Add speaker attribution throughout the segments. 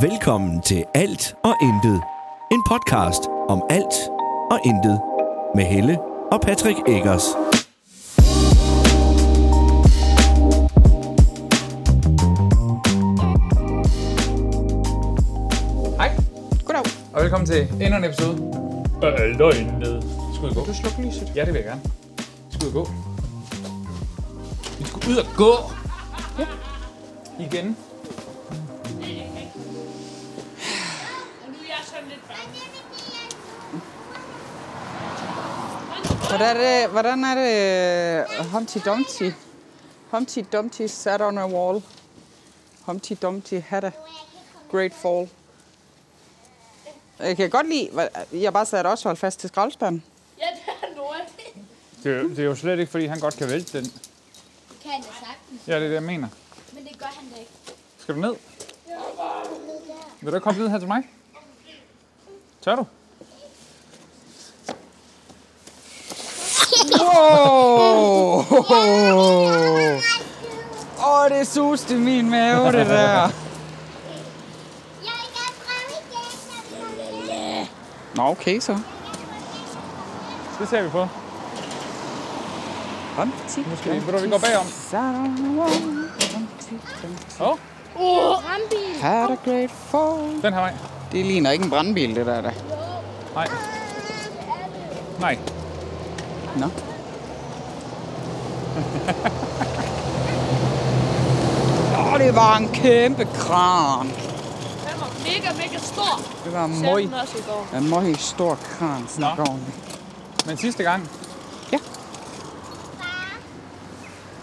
Speaker 1: Velkommen til Alt og Intet. En podcast om alt og intet. Med Helle og Patrick Eggers.
Speaker 2: Hej,
Speaker 3: Goddag.
Speaker 2: og velkommen til endnu en episode.
Speaker 4: Øh, løgnet.
Speaker 2: Skulle I gå?
Speaker 3: Du slukker lyset.
Speaker 2: Ja, det vil jeg gerne. Skulle I gå? Vi skulle ud og gå! Ja. Igen.
Speaker 5: Nu er jeg sådan lidt bange.
Speaker 3: Hvordan er det, hvordan er det øh, Humpty Dumpty? Humpty Dumpty sat on a wall. Humpty Dumpty had a great fall. Jeg kan godt lide, hvad- jeg bare sagde også holdt fast til skraldespanden.
Speaker 5: Ja, det er Nora.
Speaker 2: Det, er jo- det er jo slet ikke, fordi han godt kan vælte den.
Speaker 6: kan han da sagtens,
Speaker 2: Ja, det er det, jeg mener.
Speaker 6: men det gør han da ikke.
Speaker 2: Skal du ned? Vil du komme ned her til mig? Tør du?
Speaker 3: Wow! Åh, oh, det suste i min mave, det der.
Speaker 6: Jeg vil gerne prøve igen, jeg vil prøve igen.
Speaker 3: Nå, okay så.
Speaker 2: Det ser vi på.
Speaker 3: Humpty
Speaker 2: Måske. Ved du, vi går bagom.
Speaker 3: sat on a wall. Humpty Dumpty
Speaker 2: Åh, oh,
Speaker 6: Brandbil.
Speaker 3: had a great fall.
Speaker 2: den her vej.
Speaker 3: Det ligner ikke en brandbil, det der. da.
Speaker 2: Nej. Nej.
Speaker 3: Nå. Åh, det var en kæmpe kran.
Speaker 5: Den var mega, mega stor.
Speaker 3: Det var en
Speaker 5: Sagde
Speaker 3: møg,
Speaker 5: den også i går.
Speaker 3: en møg stor kran, snakker
Speaker 2: Nå.
Speaker 3: om.
Speaker 2: Men sidste gang,
Speaker 6: Far,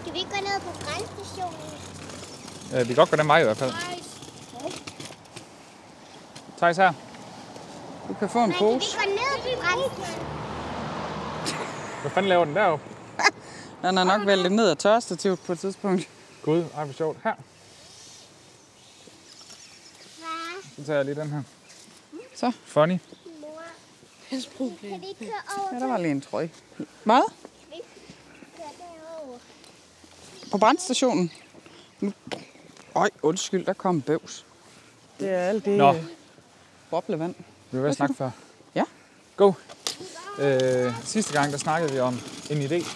Speaker 6: skal vi ikke gå ned på brandstationen?
Speaker 2: øh, vi kan godt gå den vej i hvert fald. Thijs her.
Speaker 3: Du kan få en
Speaker 6: Nej, skal vi
Speaker 3: pose.
Speaker 6: ikke gå ned på brandstationen?
Speaker 2: Hvad fanden laver den deroppe?
Speaker 3: Den er nok væltet ned af tørstativet på et tidspunkt.
Speaker 2: Gud, ej hvor sjovt. Her,
Speaker 6: Far,
Speaker 2: så tager jeg lige den her.
Speaker 3: Så.
Speaker 2: Funny.
Speaker 6: mor. Kan vi ikke køre over?
Speaker 3: Ja, der var lige en trøje. Hvad?
Speaker 6: Kan vi ikke køre derover?
Speaker 3: På brandstationen. Nu- Øj, undskyld, der kom en bøvs. Det er alt det
Speaker 2: Nå,
Speaker 3: øh, boblevand.
Speaker 2: vi var ved at snakke før.
Speaker 3: Ja.
Speaker 2: Go. Øh, sidste gang, der snakkede vi om en idé,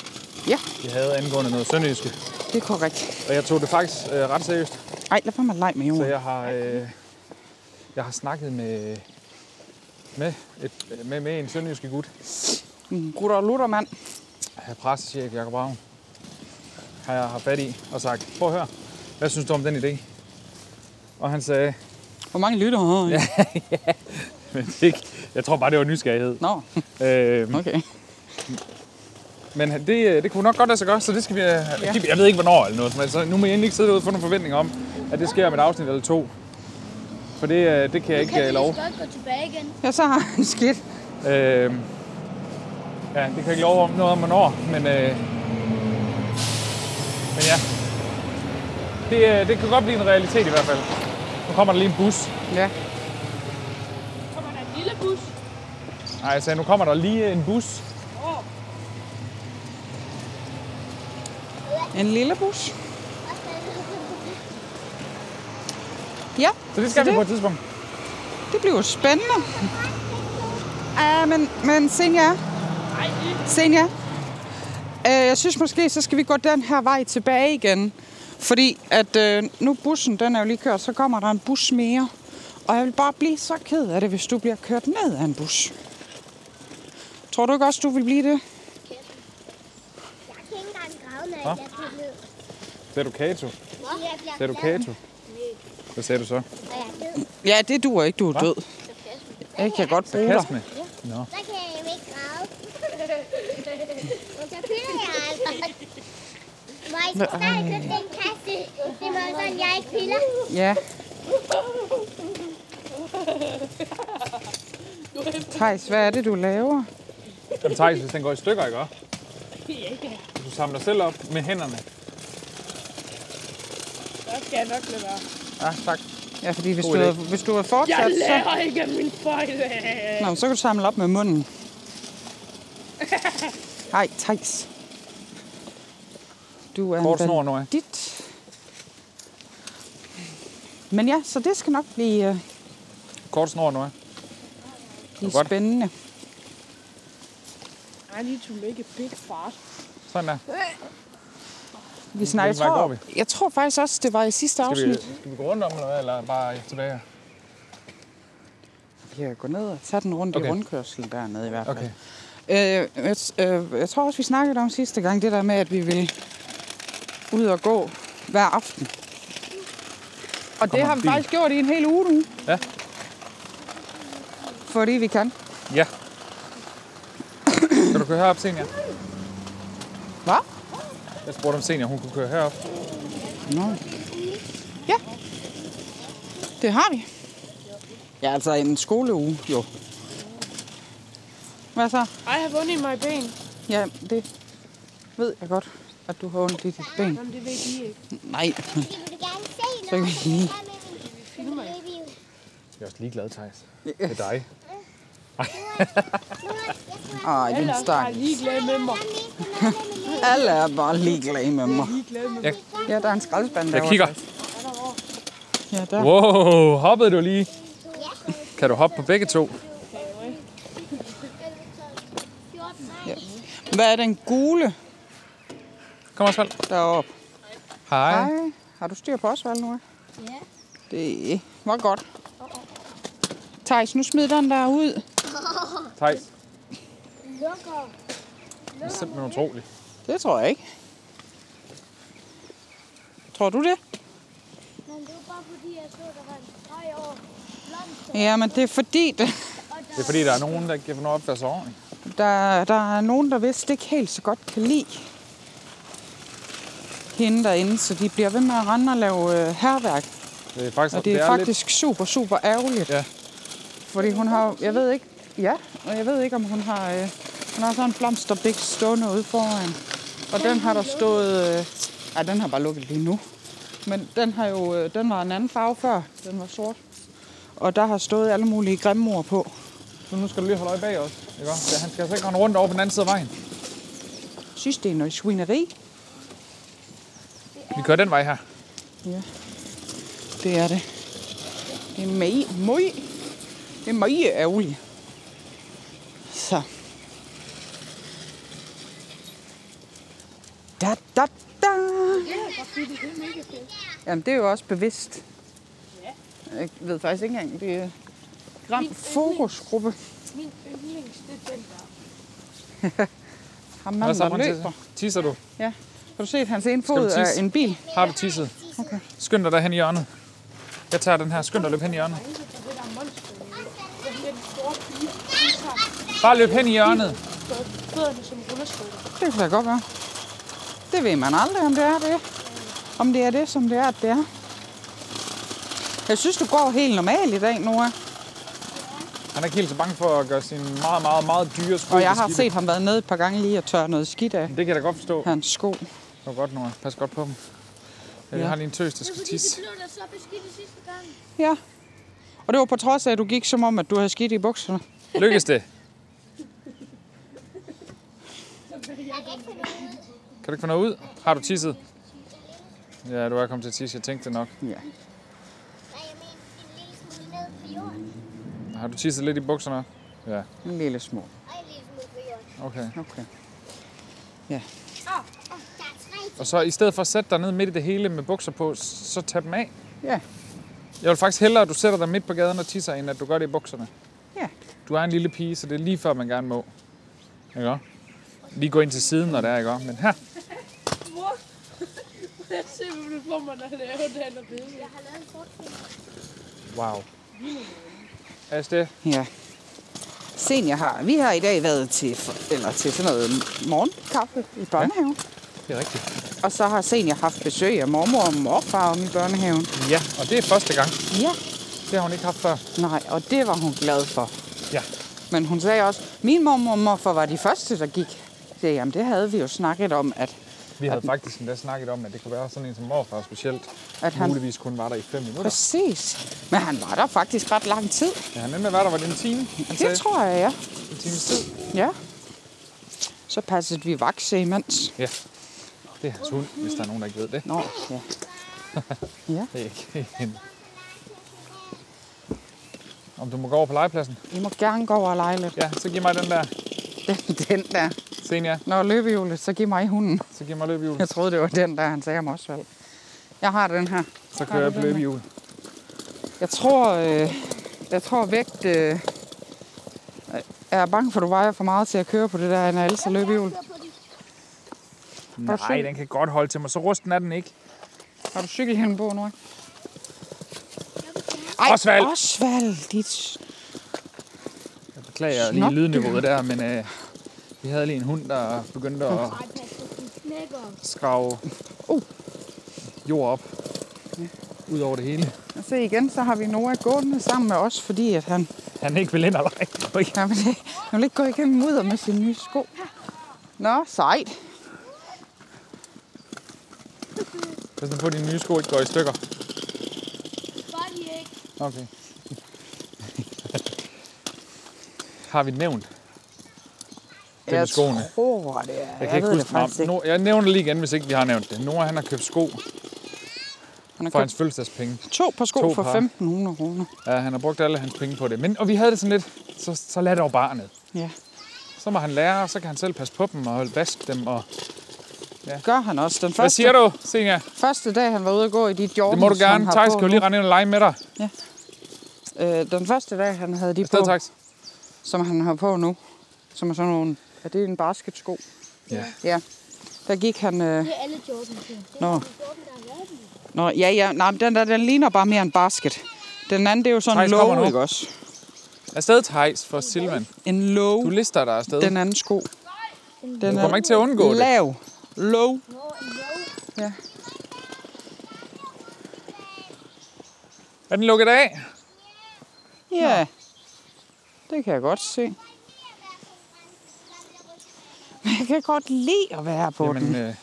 Speaker 3: Ja,
Speaker 2: vi havde angående noget sønderjyske.
Speaker 3: det er korrekt.
Speaker 2: Og jeg tog det faktisk øh, ret seriøst,
Speaker 3: Ej, lad være med at lege med
Speaker 2: så
Speaker 3: jorden.
Speaker 2: jeg har, øh, jeg har snakket med, med, et, med, med en sønderjyske gut,
Speaker 3: Mm, Rutter og lutter, mand.
Speaker 2: øh, pressechef Jacob Braun, har jeg haft fat i og sagt, prøv at høre, hvad synes du om den idé? Og han sagde,
Speaker 3: Hvor mange lytter har I? Ja.
Speaker 2: men det, jeg tror bare, det var nysgerrighed.
Speaker 3: Nå,
Speaker 2: Øh,
Speaker 3: okay.
Speaker 2: Men det, øh, det kunne nok godt lade sig gøre, så det skal vi... Ja. Jeg ved ikke, hvornår eller noget. Men så nu må I endelig ikke sidde derude og få nogle forventninger om, at det sker om et afsnit eller to. For det, øh, det kan jeg ikke øh, love.
Speaker 6: godt gå tilbage igen.
Speaker 3: Ja, så har han skidt.
Speaker 2: Øh, ja, det kan jeg ikke love om noget om, hvornår. Men, øh, men ja, det, øh, det kan godt blive en realitet i hvert fald. Nu kommer der lige en bus.
Speaker 3: Ja.
Speaker 5: Kommer der en lille bus?
Speaker 2: Nej, jeg sagde, nu kommer der lige en bus.
Speaker 3: En lille bus.
Speaker 6: Og så
Speaker 3: Ja,
Speaker 2: Så det skal
Speaker 3: så
Speaker 2: vi på
Speaker 3: det,
Speaker 2: et tidspunkt.
Speaker 3: det bliver jo spændende. Ja, men, men Senja,
Speaker 5: Nej, ikke.
Speaker 3: Senja, øh, jeg synes måske, så skal vi gå den her vej tilbage igen. Fordi at øh, nu bussen, den er jo lige kørt, så kommer der en bus mere. Og jeg vil bare blive så ked af det, hvis du bliver kørt ned af en bus. Tror du ikke også, du vil blive det?
Speaker 6: Jeg kan ikke engang grave, når jeg bliver ned.
Speaker 2: Sagde du Kato?
Speaker 6: Jeg bliver
Speaker 2: Sagde du
Speaker 6: glad,
Speaker 2: Kato? Hvad sagde du så?
Speaker 6: når jeg er død.
Speaker 3: Ja, det duer ikke, du er død. Jeg kan godt bruge dig.
Speaker 2: Kast med. Nå.
Speaker 6: Så kan jeg jo ikke grave. Men så piller jeg aldrig. Må jeg ikke snart købe den kasse? Det må være sådan, jeg ikke piller.
Speaker 3: Ja. Thijs, hvad er det, du laver?
Speaker 2: Jamen Thijs, hvis den går i stykker, ikke også? Hvis du samler selv op med hænderne.
Speaker 5: Der skal jeg nok lade være.
Speaker 2: Ja, tak.
Speaker 3: Ja, fordi hvis
Speaker 2: God
Speaker 3: du,
Speaker 2: idé.
Speaker 3: havde, hvis du havde
Speaker 5: Jeg
Speaker 3: fortsat, så,
Speaker 5: lærer ikke af min fejl.
Speaker 3: nå, men så kan du samle op med munden. Ej, Thijs. Du er
Speaker 2: Kort
Speaker 3: en
Speaker 2: snor, Noah.
Speaker 3: bandit. Men ja, så det skal nok blive, øh,
Speaker 2: kort snor nu.
Speaker 3: De er
Speaker 2: Godt.
Speaker 3: spændende.
Speaker 5: I need to make a big fart.
Speaker 2: Sådan der.
Speaker 3: Vi snakker, jeg,
Speaker 2: vej går
Speaker 3: tror,
Speaker 2: vi?
Speaker 3: jeg tror faktisk også, det var i sidste
Speaker 2: Skal vi,
Speaker 3: afsnit.
Speaker 2: skal vi gå rundt om, eller, hvad, eller bare tilbage her?
Speaker 3: Vi kan gå ned og tage den rundt okay.
Speaker 2: Okay.
Speaker 3: i rundkørselen dernede i hvert fald.
Speaker 2: Okay.
Speaker 3: Øh, jeg, øh, jeg tror også, vi snakkede om sidste gang, det der med, at vi ville ud og gå hver aften. Og det
Speaker 2: Kommer
Speaker 3: har
Speaker 2: en
Speaker 3: vi
Speaker 2: bil.
Speaker 3: faktisk gjort i en hel uge nu.
Speaker 2: Ja.
Speaker 3: Fordi vi kan.
Speaker 2: Ja. Kan du køre herop, Senior?
Speaker 3: Hvad?
Speaker 2: Jeg spurgte om Senior, hun kunne køre herop.
Speaker 3: Nå. Ja. Det har vi. Ja, altså en skoleuge, jo. Hvad så?
Speaker 5: I have ondt i my ben.
Speaker 3: Ja, det ved jeg godt, at du har ondt i dit ben.
Speaker 5: Jamen, det ved I ikke.
Speaker 3: Nej,
Speaker 6: De vil gerne se
Speaker 3: Så kan
Speaker 6: noget.
Speaker 3: vi sige.
Speaker 2: Jeg er også ligeglad, Thijs. Det er dig.
Speaker 3: Ej, den
Speaker 5: Alle os, der er
Speaker 3: stak.
Speaker 5: ligeglade med mig.
Speaker 3: Alle er bare ligeglade med mig.
Speaker 5: Ligeglade med
Speaker 2: Jeg,
Speaker 3: Ja, der er en skraldespand
Speaker 2: jeg
Speaker 3: derovre.
Speaker 2: kigger.
Speaker 3: Ja, der.
Speaker 2: Wow, hoppede du lige? Kan du hoppe på begge to?
Speaker 3: Hvad er den gule
Speaker 2: Kom, Osvald.
Speaker 3: deroppe?
Speaker 2: Hej.
Speaker 3: Hej. Har du styr på Osvald nu? Ja. Det var godt. Thijs, nu smid den der ud.
Speaker 2: Thijs. Det er simpelthen utroligt.
Speaker 3: Det tror jeg ikke. Tror du det? Jamen, det er fordi, det,
Speaker 2: Det er fordi, der er nogen, der ikke kan få noget opfærd sig ordentligt.
Speaker 3: der, der er nogen, der vist ikke helt så godt kan lide hende derinde, så de bliver ved med at rende og lave øh, herværk.
Speaker 2: Altså, Det er faktisk,
Speaker 3: Og det er,
Speaker 2: lidt,
Speaker 3: faktisk lidt... super, super ærgerligt.
Speaker 2: Ja.
Speaker 3: Fordi hun har, jeg ved ikke, ja, og jeg ved ikke, om hun har, øh, hun har sådan en blomsterbæk stående ude foran. Og den har der stået, øh, ja, den har bare lukket lige nu. Men den har jo, øh, den var en anden farve før, den var sort. Og der har stået alle mulige grimme ord på.
Speaker 2: Så nu skal du lige holde øje bag os. Ikke? også? Ja, han skal altså ikke rende rundt over på den anden side af vejen.
Speaker 3: Synes, det er noget svineri?
Speaker 2: Vi kører den vej her.
Speaker 3: Det er det. Det er meget, meget, det er meget ærgerligt. Så. Da, da, da. Jamen, det er jo også bevidst. Jeg ved faktisk ikke engang, det er Gram Fokusgruppe.
Speaker 5: min yndlings. Det er den der.
Speaker 3: Ham manden, der løber.
Speaker 2: Tisser du?
Speaker 3: Ja. Har du set, hans ene
Speaker 2: du
Speaker 3: fod er
Speaker 2: tisse?
Speaker 3: en bil?
Speaker 2: Har du tisset? Okay. Skynd dig derhen i hjørnet. Jeg tager den her. Skynd dig at løbe hen i hjørnet. Bare løb hen i hjørnet.
Speaker 5: Fødderne som rulleskole.
Speaker 3: Det kan da godt være. Det ved man aldrig, om det er det. Om det er det, som det er, at det er. Jeg synes, du går helt normalt i dag, Nora.
Speaker 2: Han er ikke helt så bange for at gøre sine meget, meget, meget dyre sko.
Speaker 3: Og jeg har
Speaker 2: beskidte.
Speaker 3: set ham været nede et par gange lige og tørre noget skidt af
Speaker 2: Det kan jeg da godt forstå.
Speaker 3: hans sko.
Speaker 2: Det var godt, Nora. Pas godt på dem. Øh, Jeg
Speaker 3: Ja.
Speaker 2: har lige en tøs, der skal tisse.
Speaker 6: blev da så beskidte sidste gang.
Speaker 3: Ja. Og det var på trods af, at du gik som om, at du havde skidt i bukserne.
Speaker 2: Lykkes det? Kan du ikke få noget ud? Har du tisset? Ja, du er kommet til at tisse. Jeg tænkte det nok.
Speaker 3: Ja.
Speaker 6: Nej, jeg mener en lille smule ned på jorden.
Speaker 2: Har du tisset lidt i bukserne? Ja,
Speaker 3: En lille smule.
Speaker 6: Og en lille smule på jorden.
Speaker 2: okay.
Speaker 3: Okay.
Speaker 6: Der er tre
Speaker 2: Og så i stedet for at sætte dig ned midt i det hele med bukser på, så tag dem af.
Speaker 3: Ja.
Speaker 2: Jeg vil faktisk hellere, at du sætter dig midt på gaden og tisser, end at du gør det i bukserne.
Speaker 3: Ja.
Speaker 2: Du er en lille pige, så det er lige før, man gerne må. Ikke også? Lige gå ind til siden, når det er, ikke også? Men her,
Speaker 5: Mor! Jeg ser, hvor du får mig, når det er ondt af at bide.
Speaker 6: Jeg har lavet en kortfilm.
Speaker 2: wow. Er det?
Speaker 3: Ja. Senior har. Vi har i dag været til, for- eller til sådan noget morgenkaffe i børnehaven. Ja.
Speaker 2: Det er rigtigt.
Speaker 3: Og så har Senior haft besøg af mormor og morfar om i børnehaven.
Speaker 2: Ja, og det er første gang.
Speaker 3: Ja.
Speaker 2: Det har hun ikke haft før.
Speaker 3: Nej, og det var hun glad for.
Speaker 2: Ja.
Speaker 3: Men hun sagde også, min mormor og morfar var de første, der gik. Jeg Sagde, jamen det havde vi jo snakket om, at,
Speaker 2: Vi havde faktisk endda snakket om, at det kunne være sådan en som morfar specielt.
Speaker 3: at han...
Speaker 2: Muligvis kun var der i fem minutter.
Speaker 3: Præcis. Men han var der faktisk ret lang tid.
Speaker 2: Ja, han endte med at være der, var det en time? Han
Speaker 3: Det tror jeg, ja.
Speaker 2: En times tid.
Speaker 3: ja. Så passede vi vakse imens.
Speaker 2: Ja. Det er hans hund, hvis der er nogen, der ikke ved det.
Speaker 3: Nå, ja.
Speaker 2: Det er ikke hende. Om du må gå over på legepladsen?
Speaker 3: I må gerne gå over og lege lidt.
Speaker 2: Ja, så giv mig den der.
Speaker 3: Den, den der.
Speaker 2: Senja,
Speaker 3: Når løbehjulet, så giv mig hunden.
Speaker 2: så giv mig løbehjul.
Speaker 3: Jeg troede, det var den der, han sagde om Osvald. Jeg har den her.
Speaker 2: Så kører jeg på løbehjul.
Speaker 3: Jeg tror, øh, jeg tror vægt... Øh, jeg er bange for, at du vejer for meget til at køre på det der Anna Elsa løbehjul.
Speaker 2: Nej, den kan godt holde til mig. Så rusten er den ikke.
Speaker 3: Har du cykelhjelm på nu? ikke?
Speaker 2: Osvald!
Speaker 3: Osvald, dit...
Speaker 2: Jeg beklager lige lydniveauet der, men øh, vi havde lige en hund, der begyndte at skrave
Speaker 3: Uh.
Speaker 2: jord op. Ud over det hele.
Speaker 3: Og se igen, så har vi Noah gående sammen med os, fordi at han,
Speaker 2: Han ikke vil ind og lege. Ui.
Speaker 3: han, vil, ikke- han vil ikke gå igennem mudder med sine nye sko. Nå, sejt.
Speaker 2: Pas nu på, at dine nye sko ikke går i stykker.
Speaker 6: Godt, I ikke.
Speaker 2: Okay. Har vi nævnt? Det med
Speaker 3: Jeg
Speaker 2: skoene.
Speaker 3: tror det. Jeg,
Speaker 2: Jeg
Speaker 3: jeg
Speaker 2: kan ikke
Speaker 3: ved det
Speaker 2: huske
Speaker 3: faktisk
Speaker 2: det
Speaker 3: ikke.
Speaker 2: no, Jeg nævner det lige igen, hvis ikke vi har nævnt det. Nora han har købt sko
Speaker 3: Han har
Speaker 2: for
Speaker 3: købt
Speaker 2: hans fødselsdagspenge.
Speaker 3: to par sko
Speaker 2: to
Speaker 3: for
Speaker 2: par.
Speaker 3: 1.500 kroner.
Speaker 2: Ja, han har brugt alle hans penge på det. Men, og vi havde det sådan lidt, så, så lad dog barnet.
Speaker 3: Ja.
Speaker 2: Så må han lære, og så kan han selv passe på dem og vaske dem. Og...
Speaker 3: Gør han også. Den første,
Speaker 2: Hvad siger du, Senja?
Speaker 3: første dag, han var ude at gå i de Jordans,
Speaker 2: Det må du gerne.
Speaker 3: han har
Speaker 2: Tak,
Speaker 3: på
Speaker 2: skal jo
Speaker 3: nu.
Speaker 2: lige rende ind og lege med dig.
Speaker 3: Øh, den første dag, han havde de
Speaker 2: Afsted,
Speaker 3: på,
Speaker 2: tak.
Speaker 3: som han har på nu, som er sådan nogle... Er det en basketsko?
Speaker 2: Ja.
Speaker 3: Ja. Der gik han... Øh,
Speaker 6: Det er alle Jordan. Jordan, der
Speaker 3: nå,
Speaker 6: har lavet dem.
Speaker 3: Nå, ja, ja. Nej, men den der, den ligner bare mere en basket. Den anden, det er jo sådan en
Speaker 2: Thijs, kommer
Speaker 3: låge,
Speaker 2: nu.
Speaker 3: ikke også?
Speaker 2: Afsted, Thijs, for Silvan.
Speaker 3: En
Speaker 2: Du
Speaker 3: låge,
Speaker 2: lister dig afsted.
Speaker 3: den anden sko. Den
Speaker 2: Du kommer ikke til at undgå det.
Speaker 3: lav. Low.
Speaker 6: Nå, en lov.
Speaker 2: Er den lukket af?
Speaker 3: Ja. Det kan jeg godt se. Men jeg kan godt lide at være på
Speaker 2: Jamen,
Speaker 3: den.
Speaker 2: øh,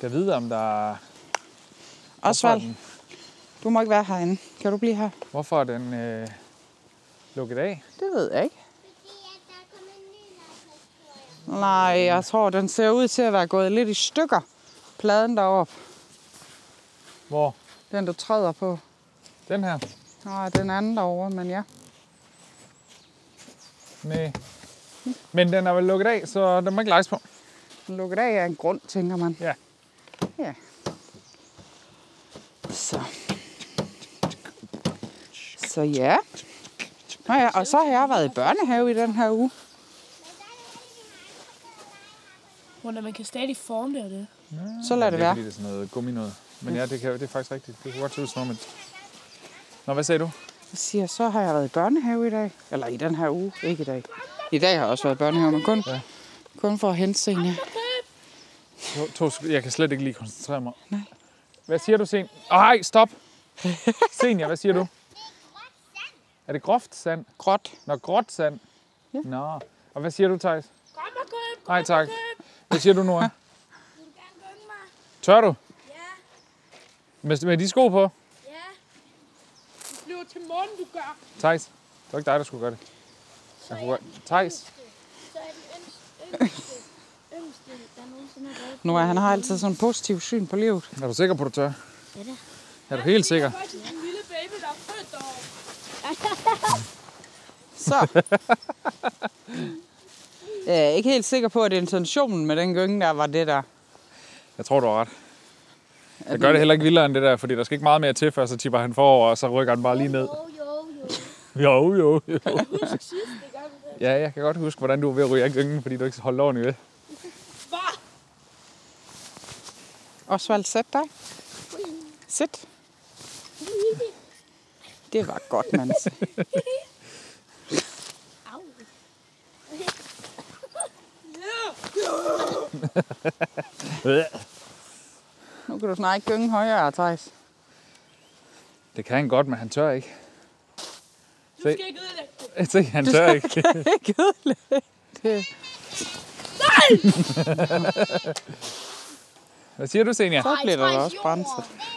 Speaker 2: kan vide, om der er... Hvorfor er
Speaker 3: Osvald,
Speaker 2: den,
Speaker 3: du må ikke være herinde. Kan du blive her?
Speaker 2: hvorfor er den øh, lukket af?
Speaker 3: Det ved jeg ikke.
Speaker 6: Fordi at der er kommet en ny legeplads, tror jeg.
Speaker 3: Nej, jeg tror, den ser ud til at være gået lidt i stykker. Pladen deroppe.
Speaker 2: Hvor?
Speaker 3: Den, du træder på.
Speaker 2: Den her?
Speaker 3: Nej, den anden derovre, men ja.
Speaker 2: Nej. Men den er vel lukket af, så den må ikke leges på.
Speaker 3: Den lukket af af en grund, tænker man.
Speaker 2: Ja.
Speaker 3: Ja. Så. Så ja. Nå ja, og så har jeg været i børnehave i den her uge.
Speaker 5: Hvordan man kan stadig forme det og det.
Speaker 3: Så lad det
Speaker 2: Jeg
Speaker 3: være.
Speaker 2: kan lide det sådan noget gummi noget. Men ja, det, kan, det er faktisk rigtigt. Det kan godt se ud som om, et... Nå, hvad sagde du?
Speaker 3: Jeg siger, så har jeg været i børnehave i dag. Eller i den her uge, ikke i dag. I dag har jeg også været i børnehave, men kun, ja. kun for at hente Senja.
Speaker 2: To, to, sek- jeg kan slet ikke lige koncentrere mig. Nej. Hvad siger du, Sen? Ej, stop! Senior, hvad siger du? Er det groft sand?
Speaker 3: Gråt.
Speaker 2: Nå, gråt sand. Ja. Nå. Og hvad siger du, Thijs?
Speaker 5: Kom og køb!
Speaker 2: Nej, tak. Hvad siger du, Nora?
Speaker 6: Du kan godt mig.
Speaker 2: Tør du?
Speaker 6: Ja,
Speaker 2: Med, med de sko på?
Speaker 6: ja.
Speaker 5: Du bliver til morgen, du gør.
Speaker 2: Thijs, det var ikke dig, der skulle gøre det. Jeg kunne gøre... Thijs,
Speaker 6: Så er den yngste, yngste, yngste, der nogensinde har lavet
Speaker 3: Nu er han har altid sådan en positiv syn på livet.
Speaker 2: er du sikker på, at du tør?
Speaker 6: Ja da.
Speaker 2: Er du helt sikker?
Speaker 5: Det er faktisk en lille baby, der er født derovre.
Speaker 3: Så. Jeg er ikke helt sikker på, at intentionen med den gynge der var det der.
Speaker 2: Jeg tror, du har ret. Jeg gør det heller ikke vildere end det der, fordi der skal ikke meget mere til, før så tipper han forover, og så rykker han bare lige ned.
Speaker 6: Jo, jo, jo.
Speaker 2: Jo, jo, jo.
Speaker 5: Sidste gang.
Speaker 2: Ja, jeg kan godt huske, hvordan du var ved at ryge af gyngen, fordi du ikke holdt ordentligt ved.
Speaker 5: Hvad?
Speaker 3: Osvald, sæt dig. Sæt. Det var godt, Mans.
Speaker 6: Au.
Speaker 3: Nu kan du snart ikke gynge højere, Thijs.
Speaker 2: Det kan han godt, men han tør ikke.
Speaker 5: Du
Speaker 2: Se.
Speaker 5: skal ikke ødelægge det.
Speaker 2: Se, han tør ikke.
Speaker 3: Ikke ødelægge det.
Speaker 2: Hvad siger du, Senja?
Speaker 3: Så bliver der da også brændsat.
Speaker 6: Denne gang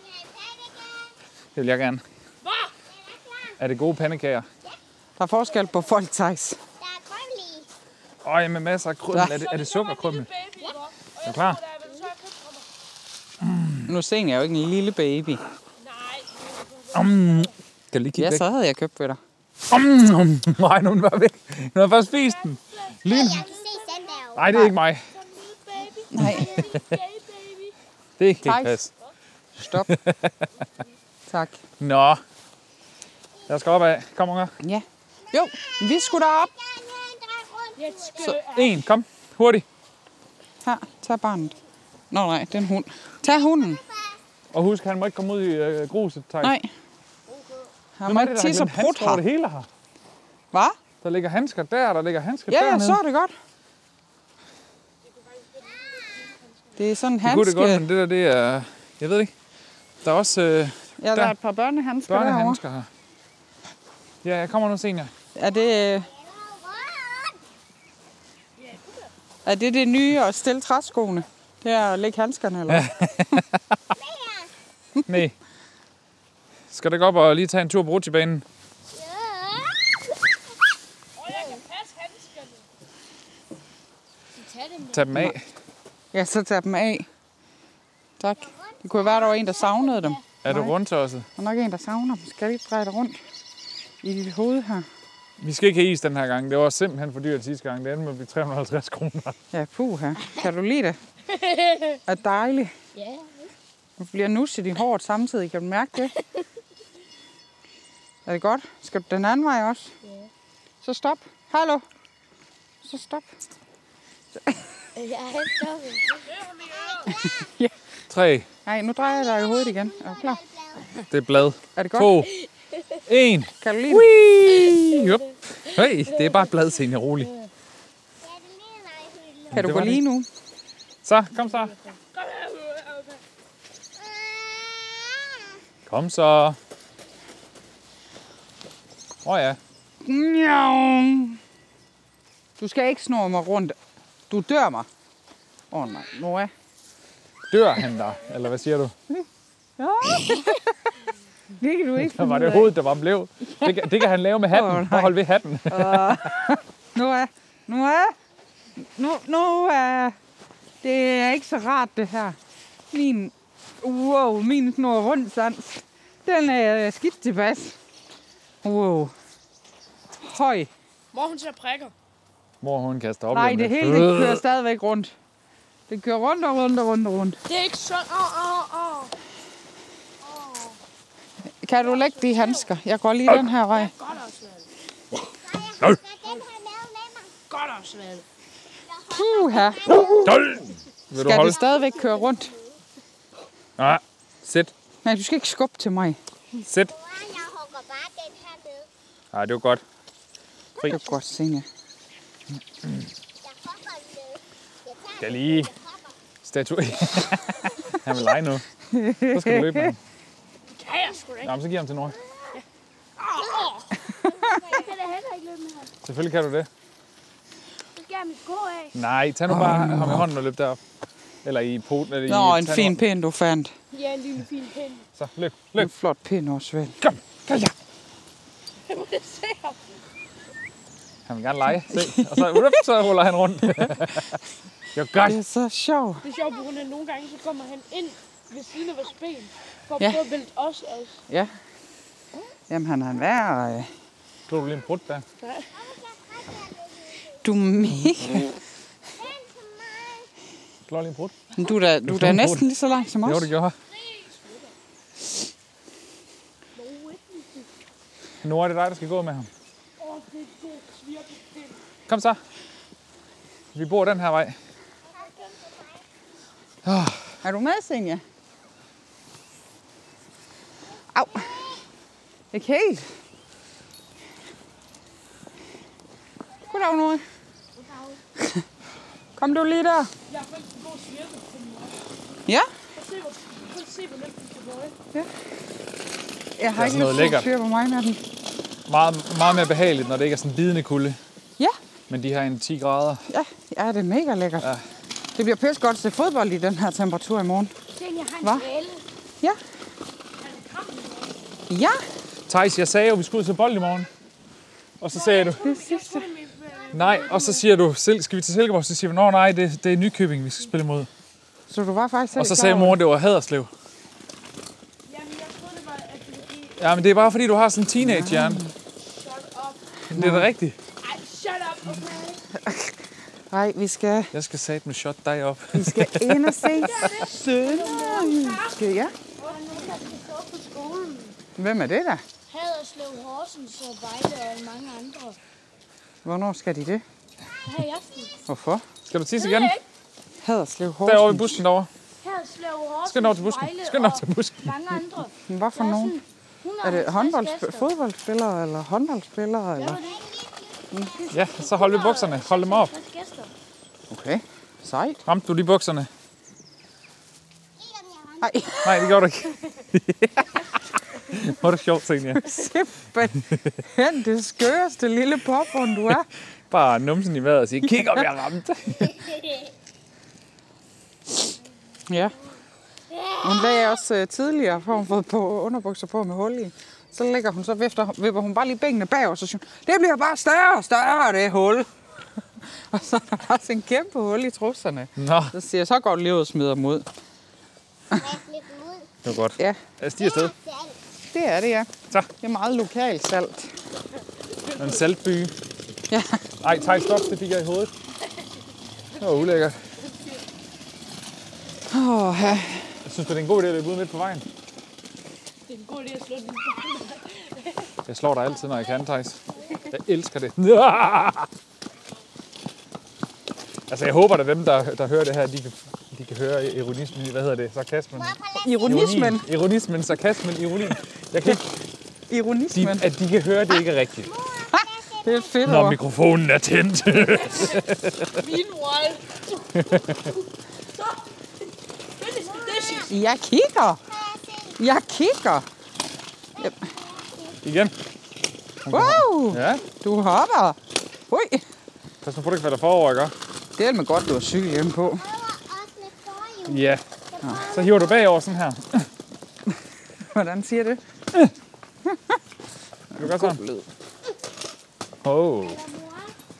Speaker 6: har jeg pandekager.
Speaker 2: Det vil jeg gerne.
Speaker 5: Hvad?
Speaker 2: Er det gode pandekager?
Speaker 3: Der er forskel på folk, Thijs.
Speaker 6: Der er krømlige.
Speaker 2: Øj, med masser af krymmel. Er det, er det
Speaker 5: Det
Speaker 2: sukkerkrymmel?
Speaker 5: var en lille baby, ikke? Og jeg
Speaker 2: Er du klar?
Speaker 5: tror, der er, hvad du så har købt fra mig.
Speaker 3: Nu ser jeg jo ikke en lille baby.
Speaker 5: Nej.
Speaker 2: Skal du lige kigge
Speaker 3: Ja,
Speaker 2: væk?
Speaker 3: så havde jeg købt ved dig.
Speaker 2: Nej, nu er den bare væk. Nu har først spist den. Lige nu.
Speaker 6: Jeg kan se sandbjerg.
Speaker 2: Nej, det er ikke mig.
Speaker 3: Nej.
Speaker 2: Det kan
Speaker 3: Tak.
Speaker 2: ikke passe.
Speaker 3: Stop. tak.
Speaker 2: Nå. Jeg skal op af. Kom, unger.
Speaker 3: Ja. Jo, vi skulle derop.
Speaker 2: En, kom. Hurtigt.
Speaker 3: Her, tag barnet. Nå nej, det er en hund. Tag hunden.
Speaker 2: Og husk, han må ikke komme ud i øh, gruset. Tak.
Speaker 3: Nej. Han må ikke tisse og prut
Speaker 2: her. det
Speaker 3: her.
Speaker 2: hele her.
Speaker 3: Hvad?
Speaker 2: Der ligger handsker der, der ligger handsker
Speaker 3: Ja, ja,
Speaker 2: dernede.
Speaker 3: så er det godt. Det er sådan en
Speaker 2: Det kunne det
Speaker 3: handske.
Speaker 2: godt, men det der, det er... Jeg ved det ikke. Der er også øh,
Speaker 3: ja, der
Speaker 2: der.
Speaker 3: er et par børnehandsker derovre.
Speaker 2: børnehandsker her. Ja, jeg kommer nu senere.
Speaker 3: Er det, øh, er det det nye at stille træskoene? Det er at lægge handskerne, eller? Ja.
Speaker 2: Nej. Skal du ikke op og lige tage en tur på rutsjebanen? Tag dem af.
Speaker 3: ja, så tag dem af. Tak. Det kunne jo være, der var en, der savnede dem.
Speaker 2: Er du rundt også?
Speaker 3: Der er nok en, der savner dem. Skal jeg lige dreje dig rundt i dit hoved her?
Speaker 2: Vi skal ikke have is den her gang. Det var simpelthen for dyrt sidste gang. Det endte med at blive 350 kroner.
Speaker 3: Ja, puha. Kan du lide det? Er dejligt.
Speaker 6: Ja.
Speaker 3: Du bliver nusset i håret samtidig. Kan du mærke det? Er det godt? Skal du den anden vej også? Ja. Så stop. Hallo. Så stop.
Speaker 6: Jeg er stoppet.
Speaker 2: 3.
Speaker 3: Nej, nu drejer jeg dig i hovedet igen. Er du klar?
Speaker 2: Det er blad.
Speaker 3: Er det godt?
Speaker 2: 2. 1.
Speaker 3: Kan du lide det?
Speaker 2: Jup. Hey, det er bare et blad, Senja. Rolig.
Speaker 6: Ja, det ligner mig. Hylde.
Speaker 3: Kan du
Speaker 2: Det
Speaker 3: gå
Speaker 2: var det.
Speaker 3: lige nu?
Speaker 2: Så, kom så. Kom så. Åh oh, ja.
Speaker 3: Miau. Du skal ikke snurre mig rundt. Du dør mig. Åh oh, nej, Nora.
Speaker 2: Dør han der? Eller hvad siger du?
Speaker 3: Det kan du ikke.
Speaker 2: Der var det hovedet, der var blev. Det kan, det kan han lave med hatten.
Speaker 3: Åh,
Speaker 2: Oh,
Speaker 3: nej.
Speaker 2: Prøv at holde ved hatten.
Speaker 3: Nora. Nora. Nu, nu er... Det er ikke så rart, det her. Min... Wow, min snor rundt sans. Den er skidt tilbage. Wow. Høj.
Speaker 5: Mor, hun ser prikker.
Speaker 2: Mor, hun kaster op. Øh,
Speaker 3: Nej,
Speaker 2: lige om lidt.
Speaker 3: det hele det kører stadigvæk rundt. Det kører rundt og rundt og rundt og rundt.
Speaker 5: Det er ikke sundt. Åh, åh, åh.
Speaker 3: Kan du lægge de handsker? Jeg går lige den her vej.
Speaker 5: Godt, Osvald.
Speaker 6: Skal den her med med mig?
Speaker 5: Godt, Osvald.
Speaker 3: Puh, her.
Speaker 2: Vil du
Speaker 3: Skal
Speaker 2: holde?
Speaker 3: det stadigvæk køre rundt?
Speaker 2: Nej. Sæt.
Speaker 3: Nej, du skal ikke skubbe til mig.
Speaker 2: Sæt.
Speaker 6: Wow, jeg hugger bare den her ned.
Speaker 2: Nej, det var godt.
Speaker 3: Det er godt,
Speaker 6: Jeg
Speaker 3: Senja.
Speaker 6: hugger den ned. Jeg tager
Speaker 2: Skal lige statue. han vil lege nu. Så skal du løbe med ham.
Speaker 5: Kan jeg sgu da ikke.
Speaker 2: Jamen, så giver ham til Nora.
Speaker 7: Jeg kan da heller ikke løbe med ham.
Speaker 2: Selvfølgelig kan du det.
Speaker 7: Så skal jeg have mit sko af.
Speaker 2: Nej, tag nu bare ham i hånden og løb derop. Eller i poten. Eller i,
Speaker 3: Nå, en
Speaker 2: tag nu-
Speaker 3: fin pind, du fandt.
Speaker 7: Ja, en lille fin pind.
Speaker 2: Så, løb.
Speaker 3: En
Speaker 2: Løb.
Speaker 3: flot pind også, vel?
Speaker 2: Kom. Kom ja.
Speaker 5: Jeg må se ham.
Speaker 2: Han vil gerne lege. Se. Og så, rup, så ruller han rundt. jo, godt.
Speaker 3: Det er så sjovt.
Speaker 5: Det er sjovt, på grund af, at nogle gange så kommer han ind ved siden af vores ben. For at
Speaker 3: Ja.
Speaker 5: ja. prøve at vælte os også.
Speaker 3: Ja. Jamen, han er en værre. øh.
Speaker 2: Tog du lige en brud der?
Speaker 3: Du er mega.
Speaker 2: Slår lige en brud?
Speaker 3: Men Du er da, du er da
Speaker 2: fandme
Speaker 3: næsten lige så langt som
Speaker 2: Jo,
Speaker 3: os.
Speaker 2: det gjorde jeg. Nora, det er dig, der skal gå med ham. Kom så. Vi bor den her vej.
Speaker 3: Er du med, Senja? Au. Ikke helt. Goddag, Nora. Kom du lige der.
Speaker 5: Jeg har faktisk en god svirpe på min mor.
Speaker 3: Ja.
Speaker 5: Prøv at se, hvor, prøv at se, hvor nemt den kan bøje.
Speaker 3: Jeg har
Speaker 2: er
Speaker 3: ikke
Speaker 2: sådan noget
Speaker 3: lyst til
Speaker 2: lækkert.
Speaker 3: at styre på mig med den.
Speaker 2: Meget, meget mere behageligt, når det ikke er sådan en bidende kulde.
Speaker 3: Ja.
Speaker 2: Men de her en 10 grader.
Speaker 3: Ja, ja, det er mega lækkert. Ja. Det bliver pisse godt at se fodbold i den her temperatur i morgen.
Speaker 7: Se, jeg har en
Speaker 3: Hva?
Speaker 7: tale.
Speaker 3: Ja. Ja,
Speaker 2: Thijs, jeg sagde jo, vi skulle ud til bold i morgen. Og så sagde du,
Speaker 3: det sidste.
Speaker 2: nej, og så siger du, "Sil- skal vi til Silkeborg? Så siger vi, nå nej, det, det er Nykøbing, vi skal spille imod.
Speaker 3: Så du var faktisk selv
Speaker 2: Og så
Speaker 3: klar
Speaker 2: sagde
Speaker 3: over
Speaker 2: mor, det var Haderslev.
Speaker 5: Jamen, jeg troede, det
Speaker 7: det var antologi.
Speaker 2: Ja, men det er bare fordi, du har sådan en teenage-hjerne.
Speaker 7: Shut up.
Speaker 2: Det er da rigtigt.
Speaker 7: Ej, shut up, okay?
Speaker 3: Nej, vi skal,
Speaker 2: Jeg skal sætte med shot dig op.
Speaker 3: vi skal ind og se Sønderjyske, ja.
Speaker 7: Og nu kan vi stå på skolen.
Speaker 3: Hvem er det der?
Speaker 8: Haderslev, Horsens og Vejle og mange andre.
Speaker 3: Hvornår skal de det?
Speaker 8: Her i aften.
Speaker 3: Hvorfor?
Speaker 2: Skal du tisse igen?
Speaker 3: Haderslev
Speaker 2: Derovre i
Speaker 3: Horsens.
Speaker 2: bussen derovre.
Speaker 8: Her slår Horsens,
Speaker 2: Skal den over til bussen.
Speaker 8: Vejle
Speaker 2: Skal den over til bussen.
Speaker 8: og mange andre.
Speaker 3: Men Hvorfor nogen? Er det håndboldspil- fodboldspillere eller håndboldspillere? Eller?
Speaker 2: Ja, så hold ved bukserne. Hold dem op.
Speaker 8: Gæster.
Speaker 3: Okay, sejt.
Speaker 2: Ramte du lige bukserne?
Speaker 3: Nej,
Speaker 2: Nej, det gjorde du ikke. Hvor er det sjovt, ting, ja.
Speaker 3: simpelthen det skøreste lille popcorn, du er.
Speaker 2: Bare numsen i vejret og sige, kig om jeg ramte.
Speaker 3: Ja. Hun lagde også øh, tidligere, for hun fået på underbukser på med hul i. Så lægger hun så vifter, vipper hun bare lige benene bag og så siger hun, det bliver bare større og større, det hul. og så er der bare sådan en kæmpe hul i trusserne.
Speaker 2: Nå,
Speaker 3: Så siger jeg, så går det lige ud og smider dem ud.
Speaker 6: Må jeg slippe dem ud?
Speaker 2: det var godt.
Speaker 3: Ja,
Speaker 2: Jeg stiger afsted.
Speaker 6: Til alt.
Speaker 3: det er det, ja.
Speaker 2: Så.
Speaker 3: Det er meget lokalt salt.
Speaker 2: En saltby.
Speaker 3: Ja.
Speaker 2: Ej, tak, stop. Det fik jeg i hovedet. Det var ulækkert.
Speaker 3: Åh, ja.
Speaker 2: Jeg synes, det er en god idé at løbe ud midt på vejen.
Speaker 5: Det er en god idé at slå den.
Speaker 2: Jeg slår dig altid, når jeg kan, Thijs. Jeg elsker det. Altså, jeg håber, at dem, der, der hører det her, de kan, de kan høre ironismen i, hvad hedder det, sarkasmen?
Speaker 3: Ironismen.
Speaker 2: Ironien. Ironismen, sarkasmen, ironien. Jeg kan ikke, de,
Speaker 3: Ironismen.
Speaker 2: at de kan høre, at det ikke er rigtigt.
Speaker 3: Det er et fedt
Speaker 2: Når
Speaker 3: ord.
Speaker 2: mikrofonen er tændt.
Speaker 5: Meanwhile. Så. Finish the dishes.
Speaker 3: Jeg kigger. Jeg kigger.
Speaker 2: Igen.
Speaker 3: Wow,
Speaker 2: Ja,
Speaker 3: du hopper. Ui,
Speaker 2: pas nu på, du ikke falder forover, ikke?
Speaker 3: det er med godt, du har cykel hjemme på.
Speaker 6: Prøver også med forhjul.
Speaker 2: Ja. Så hiver du bagover sådan her.
Speaker 3: Hvordan siger det?
Speaker 2: Kan du gøre sådan? Oh.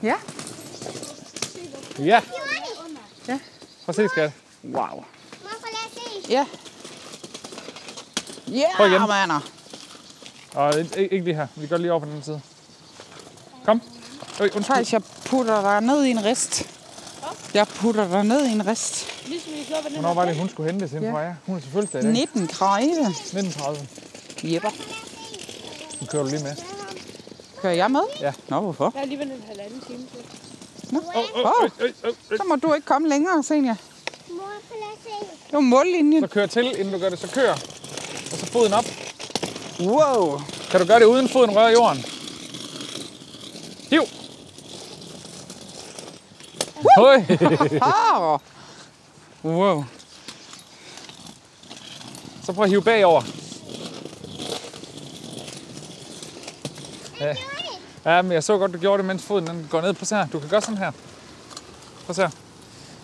Speaker 3: Ja.
Speaker 2: Ja,
Speaker 6: Gjorde de?
Speaker 2: prøv at se, skat.
Speaker 3: Wow.
Speaker 6: Morfar, lad os se.
Speaker 3: Ja. Ja,
Speaker 2: Prøv igen.
Speaker 3: yeah, mander.
Speaker 2: Og ikke, ikke lige her. Vi går lige over på den anden side. Kom. Øj, undskyld.
Speaker 3: Faktisk, jeg putter dig ned i en rist. Jeg putter dig ned i en rist.
Speaker 5: Ligesom vi slår på den
Speaker 2: Hvornår var det, hun skulle hentes hende fra jer? Hun er til fødselsdag i dag.
Speaker 3: 19 krejle.
Speaker 2: 1930.
Speaker 3: Jepper.
Speaker 2: Nu kører du lige med.
Speaker 3: Kører jeg med?
Speaker 2: Ja.
Speaker 3: Nå, hvorfor?
Speaker 5: Jeg er alligevel en halvanden time til.
Speaker 2: Åh, øh,
Speaker 3: Åh,
Speaker 2: øj, øj, øj.
Speaker 3: så må du ikke komme længere, Senja.
Speaker 6: Morfar, lad os se.
Speaker 3: Det var mållinjen.
Speaker 2: Så kør til, inden du gør det. Så kør. Og så foden op.
Speaker 3: Wow.
Speaker 2: Kan du gøre det uden foden rører jorden? Hiv. Høj.
Speaker 3: Ah. Wow.
Speaker 2: Så prøv at hive bagover. Ja. ja, men jeg så godt, du gjorde det, mens foden den går ned. på her. Du kan gøre sådan her. Prøv at se her.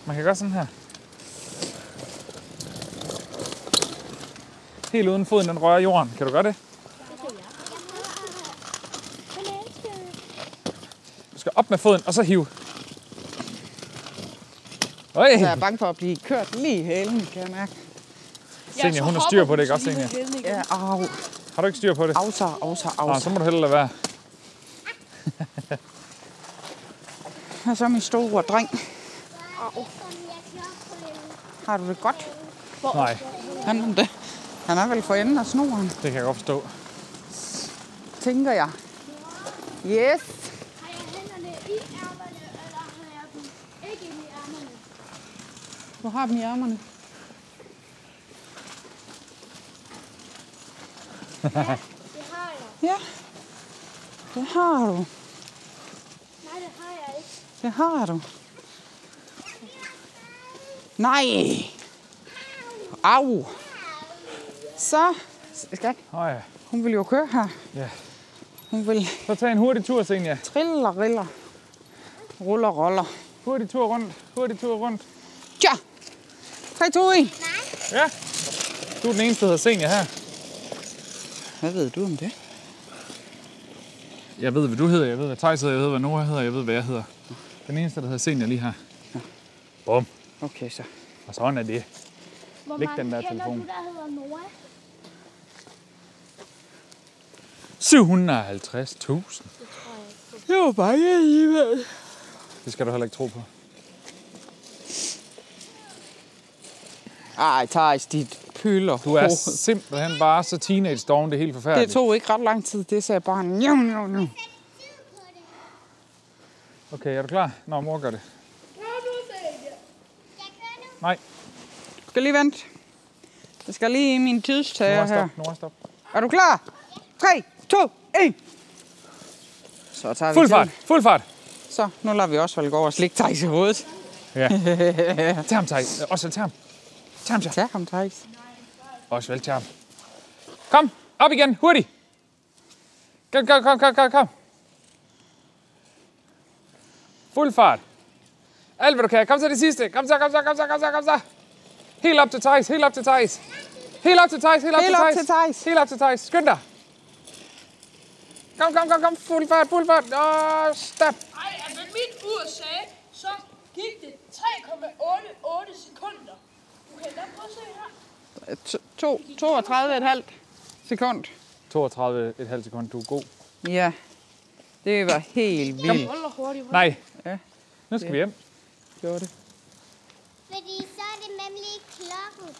Speaker 2: Man kan gøre sådan her. Helt uden foden, den rører jorden. Kan du gøre det? Du skal op med foden, og så hive. Øj,
Speaker 3: Så jeg er bange for at blive kørt lige i hælen, kan jeg mærke.
Speaker 2: Senior, hun har styr på det, ikke også, Senior?
Speaker 3: Ja, au,
Speaker 2: Har du ikke styr på det?
Speaker 3: au, så, au, så, au.
Speaker 2: Nå,
Speaker 3: så.
Speaker 2: så må du hellere lade være.
Speaker 3: Og så min store dreng.
Speaker 6: Som jeg klokker.
Speaker 3: Har du det godt?
Speaker 2: Nej,
Speaker 3: Han, det. han er vel for enden af snoren,
Speaker 2: det kan jeg godt forstå.
Speaker 3: tænker jeg.
Speaker 7: Har
Speaker 3: Yes.
Speaker 7: jeg hænderne i ærmerne, eller har jeg dem ikke i ærmerne?
Speaker 3: Du har dem i ærmerne.
Speaker 7: Det har jeg.
Speaker 3: Ja. Det har du.
Speaker 7: Nej, det har jeg ikke.
Speaker 3: Det har du. Nej. Au. Så. Skat,
Speaker 2: Øj,
Speaker 3: hun vil jo køre her.
Speaker 2: Ja.
Speaker 3: Hun vil
Speaker 2: så tag en hurtig tur, Senior.
Speaker 3: trille og riller. Ruller og roller.
Speaker 2: Hurtig tur rundt. Hurtig tur rundt.
Speaker 3: Tja. 3, 2, 1.
Speaker 2: Ja. Du er den eneste, der hedder Senior her.
Speaker 3: Hvad ved du om det?
Speaker 2: Jeg ved, hvad du hedder. Jeg ved, hvad Thijs hedder. Jeg ved, hvad Nora hedder. Jeg ved, hvad jeg hedder. Den eneste, der hedder Senior lige her. Bum.
Speaker 3: Okay, så.
Speaker 2: Og sådan er det.
Speaker 7: Hvor
Speaker 2: Læg den
Speaker 7: mange
Speaker 2: der
Speaker 7: kender
Speaker 2: telefon.
Speaker 7: du, der hedder Nora?
Speaker 2: 750.000.
Speaker 3: Det var mange alligevel.
Speaker 2: Det skal du heller ikke tro på.
Speaker 3: Ej, Thijs, dit pøler.
Speaker 2: Du er simpelthen bare så teenage doven, det er helt forfærdeligt.
Speaker 3: Det tog ikke ret lang tid, det sagde bare nu, nu, nu.
Speaker 2: Okay, er du klar? Nå, mor gør det. Nej,
Speaker 3: Du skal lige vente. Jeg skal lige i min
Speaker 2: Nora,
Speaker 3: tidstager her.
Speaker 2: stop. Nora, stop.
Speaker 3: Er du klar? 3, 2, 1. Så tager vi
Speaker 2: Fuld
Speaker 3: til.
Speaker 2: fart, fuld fart.
Speaker 3: Så, nu lader vi også gå over og slikke Thijs i hovedet.
Speaker 2: Ja. Tag ham, Thijs. Osvald, tag ham. Tag ham, tag ham.
Speaker 3: Tag ham, Thijs.
Speaker 2: Osvald, tag ham. Kom, op igen, hurtigt. Kom, kom, kom, kom, kom, kom. Fuld fart. Alt, hvad du kan. Kom så det sidste. Kom så, kom så, kom så, kom så, kom så. Helt op til Thijs, helt op til Thijs. Helt op til Thijs, helt op til
Speaker 3: Helt op
Speaker 2: Thijs.
Speaker 3: til Thijs.
Speaker 2: Helt op til Thijs. Skynd dig. Kom, kom, kom, kom. Fuld fart, fuld fart. Åh, stop.
Speaker 5: Ej, altså mit ur sagde, så gik det 3,88 sekunder. Okay, lad mig prøve at se her.
Speaker 3: To- to- 32,5 sekund.
Speaker 2: 32,5 sekunder. Du er god.
Speaker 3: Ja, det var helt vildt.
Speaker 5: Hold da hurtigt.
Speaker 2: Nej.
Speaker 3: Ja.
Speaker 2: Nu skal vi hjem.
Speaker 3: Gjorde det.
Speaker 6: Fordi så er det nemlig klokken.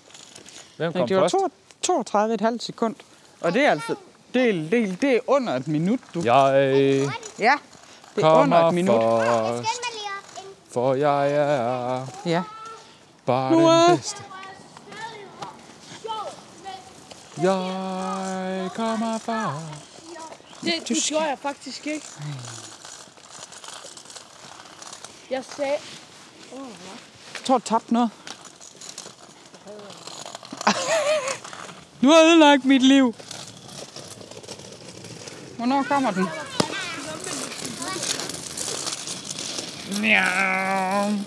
Speaker 2: Hvem
Speaker 3: Men
Speaker 2: kom
Speaker 3: det var
Speaker 2: først?
Speaker 3: to- 32,5 sekund. Og det er altså... Det er, det, er, det er under et minut, du.
Speaker 2: Jeg øh,
Speaker 3: Ja, det er under
Speaker 2: kommer
Speaker 3: et minut.
Speaker 2: for,
Speaker 6: Skynd mig lige op. En
Speaker 2: for jeg er
Speaker 3: Ja.
Speaker 2: bare
Speaker 3: Nu er-
Speaker 2: den bedste. Jeg kommer for...
Speaker 5: Det, det gjorde jeg faktisk ikke. Jeg sagde,
Speaker 3: Jeg tror, du tabte noget. Du har ødelagt mit liv. Hvornår kommer den?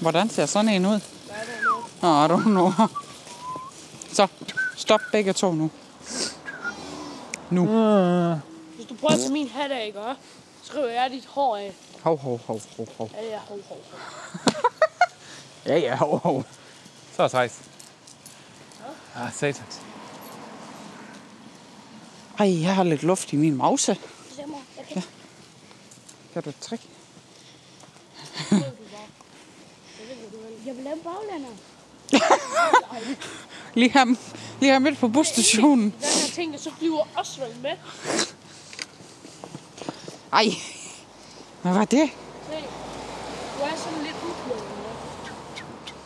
Speaker 3: Hvordan ser sådan en ud? Nå, I don't know. Så, stop begge to nu.
Speaker 5: hvis du prøver at tage min hat af, ikke? også? Så river jeg dit hår af.
Speaker 3: Hov, hov, hov, hov, hov.
Speaker 5: Ja, ja, hov, hov, hov.
Speaker 3: Ja, ja, hov, hov.
Speaker 2: Så er Thijs. Ah, satans.
Speaker 3: Ej, jeg har lidt luft i min mause.
Speaker 7: Jeg kan
Speaker 3: Kan du et trick?
Speaker 7: Jeg vil lave en baglander.
Speaker 3: Lige her, lige her midt på busstationen.
Speaker 5: Den her ting, så flyver Osvald med.
Speaker 3: Ej, hvad var det?
Speaker 5: Se, du er sådan lidt uklædt. ikke?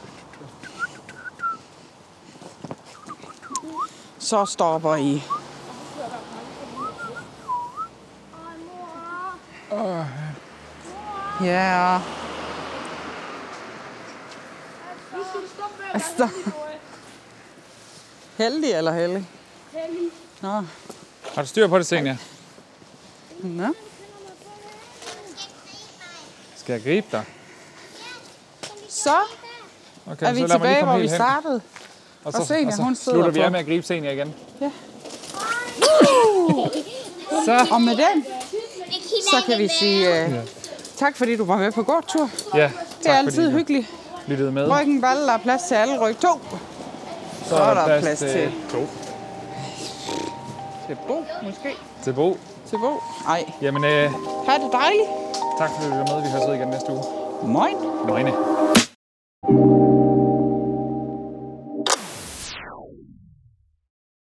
Speaker 3: Så stopper I. Ja.
Speaker 5: Nu skal du stoppe med at
Speaker 3: Altså.
Speaker 5: være heldig, Nora.
Speaker 3: Heldig eller heldig?
Speaker 5: Heldig.
Speaker 3: Nå.
Speaker 2: Har du styr på det, Senja?
Speaker 3: Nå.
Speaker 2: Skal jeg gribe dig?
Speaker 3: Så
Speaker 2: Okay,
Speaker 3: er vi
Speaker 2: lad mig lige
Speaker 3: tilbage,
Speaker 2: komme
Speaker 3: hvor vi
Speaker 2: helt hen.
Speaker 3: startede.
Speaker 2: Og
Speaker 3: og Senja, hun sidder
Speaker 2: slutter vi
Speaker 3: på-
Speaker 2: af med at gribe Senja igen.
Speaker 3: Og med den,
Speaker 6: Det kilder
Speaker 3: så kan
Speaker 6: ikke
Speaker 3: vi
Speaker 6: mere.
Speaker 3: sige uh, tak, fordi du var med på gårdtur.
Speaker 2: Ja,
Speaker 3: Det er altid
Speaker 2: fordi du
Speaker 3: hyggeligt.
Speaker 2: lyttede med.
Speaker 3: Ryggen balle, der er plads til alle. Ryg to.
Speaker 2: Så
Speaker 3: er der plads til-
Speaker 2: to.
Speaker 3: Til Bo, måske.
Speaker 2: Til Bo.
Speaker 3: Til Bo. Ej,
Speaker 2: Jamen, øh,
Speaker 3: ha' det dejligt.
Speaker 2: tak fordi du lyttede med. Vi høres ved igen næste uge.
Speaker 3: Moin.
Speaker 2: Nøgne.